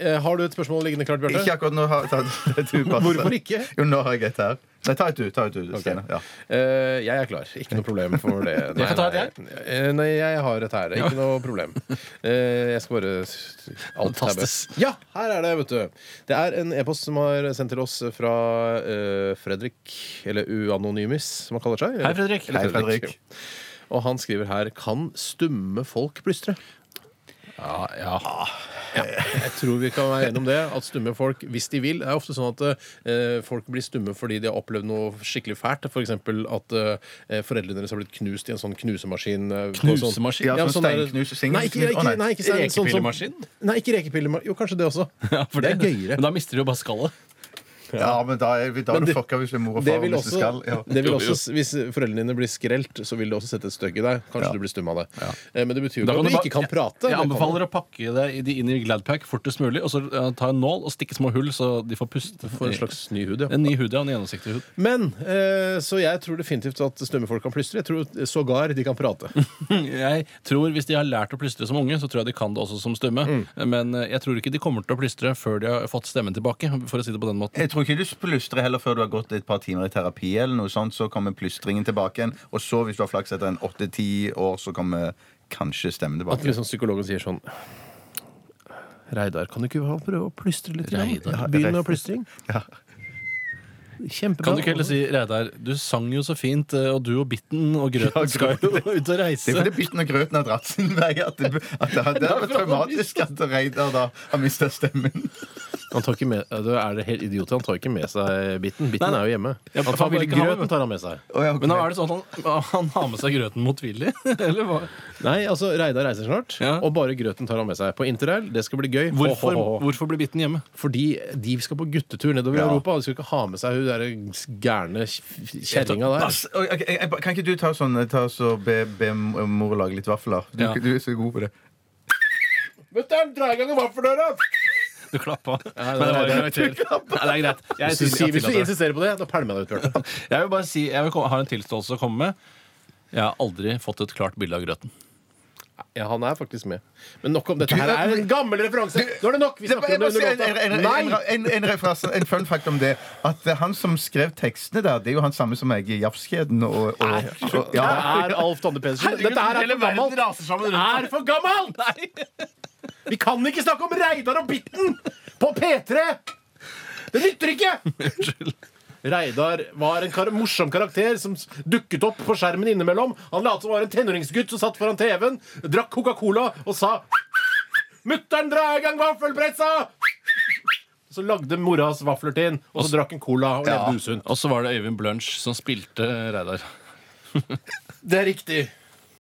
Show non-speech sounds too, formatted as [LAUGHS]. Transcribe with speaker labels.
Speaker 1: Eh, Har du et spørsmål liggende klart, Bjarte?
Speaker 2: Ikke akkurat nå. Har, [LAUGHS] ta, ta, du passer.
Speaker 1: Hvorfor ikke?
Speaker 2: Jo, nå har jeg et her. Nei, ta et du. ta et du, Steinar. Ja.
Speaker 1: Eh, jeg er klar. Ikke noe problem for det.
Speaker 3: [LAUGHS] Jeg får ta et,
Speaker 1: nei. Eh, nei, jeg har et her. Ikke noe problem. Eh, jeg skal bare alt tabbe.
Speaker 3: Fantastisk.
Speaker 1: Ja, her er det, vet du. Det er en e-post som har sendt til oss fra eh, Fredrik, eller Uanonymis, som han kaller seg.
Speaker 3: Hei, Fredrik.
Speaker 1: Eller
Speaker 2: Hei, Fredrik.
Speaker 1: Og han skriver her Kan stumme folk plystre?
Speaker 3: Ja, ja.
Speaker 1: Jeg tror vi kan være enige om det. At stumme folk, hvis de vil Det er ofte sånn at eh, folk blir stumme fordi de har opplevd noe skikkelig fælt. F.eks. For at eh, foreldrene deres har blitt knust i en sånn knusemaskin. eh, på
Speaker 3: Knusemaskin?
Speaker 1: Sånn,
Speaker 2: Ja, sånn
Speaker 1: der-
Speaker 2: steinknus- singel-
Speaker 1: Nei, ikke,
Speaker 2: Å, nei.
Speaker 1: ikke, nei, ikke stein- sånn som-
Speaker 3: Rekepillemaskin?
Speaker 1: Nei, ikke rekepillemaskin. Jo, kanskje det også.
Speaker 3: Ja, for
Speaker 1: det er gøyere.
Speaker 3: Men da mister du jo bare skallet.
Speaker 2: ja, men da er vi da
Speaker 1: Men
Speaker 2: er
Speaker 1: det-
Speaker 2: du fucka hvis vi er mor og
Speaker 1: Det
Speaker 2: far
Speaker 1: vil
Speaker 2: hvis du
Speaker 1: også,
Speaker 2: skal. Ja.
Speaker 1: det vil
Speaker 3: Jo,
Speaker 1: også, hvis foreldrene dine blir skrelt, så vil det også sette et støkk i deg. Kanskje
Speaker 2: Ja.
Speaker 1: du blir stum av det. Eh, Men det betyr jo
Speaker 3: Da
Speaker 1: ikke at du
Speaker 3: bare-
Speaker 1: ikke kan prate.
Speaker 3: Jeg, jeg
Speaker 1: Det kan du.
Speaker 3: anbefaler å pakke det i de inn i Gladpack fortest mulig, og så eh, ta en nål og stikke små hull, så de får puste.
Speaker 1: for en slags ny hud, ja.
Speaker 3: En ny hud, ja. En gjennomsiktig
Speaker 1: [LAUGHS]
Speaker 3: hud.
Speaker 1: Men eh, Så jeg tror definitivt at stumme folk kan plystre. Jeg tror sågar de kan prate.
Speaker 3: Jeg tror Hvis de har lært å plystre som unge, så tror jeg de kan det også som stumme.
Speaker 1: Mm.
Speaker 3: Men eh, jeg tror ikke de kommer til å plystre før de har fått stemmen tilbake. For å si det på den måten
Speaker 2: Jeg tror ikke du plystrer heller før du har gått et par timer i terapi. eller noe sånt, Så kommer plystringen tilbake igjen. Og så, hvis du har flaks etter en åtte-ti år, så kommer kanskje stemmen
Speaker 1: At
Speaker 2: tilbake.
Speaker 1: liksom psykologen sier sånn Reidar, kan du ikke prøve å plystre litt? grann?
Speaker 3: Reidar.
Speaker 1: Ja, Begynn med plystring. Kjempebra.
Speaker 3: Kan du ikke heller si Reidar, du sang jo så fint, eh, og du og Bitten og
Speaker 1: [LAUGHS]
Speaker 3: Grøten
Speaker 2: Ja,
Speaker 3: skal jo ut og
Speaker 2: Det er
Speaker 3: reise.
Speaker 2: fordi Bitten og Grøten har dratt sin vei. At det, at det, det er traumatisk at Reidar da har mista stemmen.
Speaker 1: Han tar ikke med, da er det helt idiot. Han tar ikke med seg biten. Biten
Speaker 3: Nei.
Speaker 1: er jo hjemme.
Speaker 3: Ja,
Speaker 1: Han
Speaker 3: for
Speaker 1: tar
Speaker 3: han bare
Speaker 1: med
Speaker 3: kan ha med-
Speaker 1: grøten tar han med seg.
Speaker 2: Å, ja, ok.
Speaker 3: Men nå er det sånn at han, han har med seg grøten motvillig? [LAUGHS] Eller hva?
Speaker 1: Nei, altså Reidar reiser snart,
Speaker 3: Ja.
Speaker 1: og bare grøten tar han med seg. På interrail. Det skal bli gøy.
Speaker 3: Hvorfor,
Speaker 1: Ho, ho, ho.
Speaker 3: hvorfor blir Bitten hjemme?
Speaker 1: Fordi de skal på guttetur nedover i
Speaker 2: Ja.
Speaker 1: Europa. De skal ikke ha med seg hun der gærne kjerringa der.
Speaker 2: Ass, ok, jeg- jeg- Kan ikke du ta sånn ta så be, be mor lage litt vafler? Du,
Speaker 3: Ja.
Speaker 2: du er så god på det.
Speaker 1: Mutter'n, dra i gang vaffeldøra!
Speaker 3: Du klappa.
Speaker 1: Nei,
Speaker 3: Men det var
Speaker 1: nei,
Speaker 3: en karakter. Nei, det er greit. Jeg,
Speaker 1: Hvis du, sier-
Speaker 3: tillater-
Speaker 1: hvis du insisterer på det, da pælmer jeg deg ut. Bjarte.
Speaker 3: [LAUGHS] jeg vil bare si, jeg vil, komme- har en tilståelse å komme med. Jeg har aldri fått et klart bilde av grøten.
Speaker 1: [LAUGHS] Ja, han er faktisk med. Men nok om dette.
Speaker 2: Du-
Speaker 1: Her er en gammel referanse! Nå er det nok! Vi
Speaker 2: Det var-
Speaker 1: snakker
Speaker 2: jeg
Speaker 1: om
Speaker 2: må
Speaker 1: det
Speaker 2: si En
Speaker 1: under
Speaker 2: en- en-
Speaker 1: låta. Nei!
Speaker 2: en- en- en referanse, en fun fact om det. At eh, han som skrev tekstene der, det er jo han samme som jeg i Jafskjeden. Og, og, og,
Speaker 1: Det
Speaker 2: ja.
Speaker 1: er Alf Tande Pedersen. Dette her er for gammelt!
Speaker 3: raser sammen
Speaker 1: Det er for gammelt! Vi kan ikke snakke om Reidar og Bitten på P3! Det nytter ikke! Reidar var en kar morsom karakter som s- dukket opp på skjermen innimellom. Han lot som var en tenåringsgutt som satt foran TV-en, drakk Coca-Cola og sa Mutter'n, dra i gang vaffelpressa! Så lagde mora hans vafler til han, og så drakk han cola og levde usunt.
Speaker 3: Og så var det Øyvind Blunch som spilte Reidar.
Speaker 1: Det er riktig.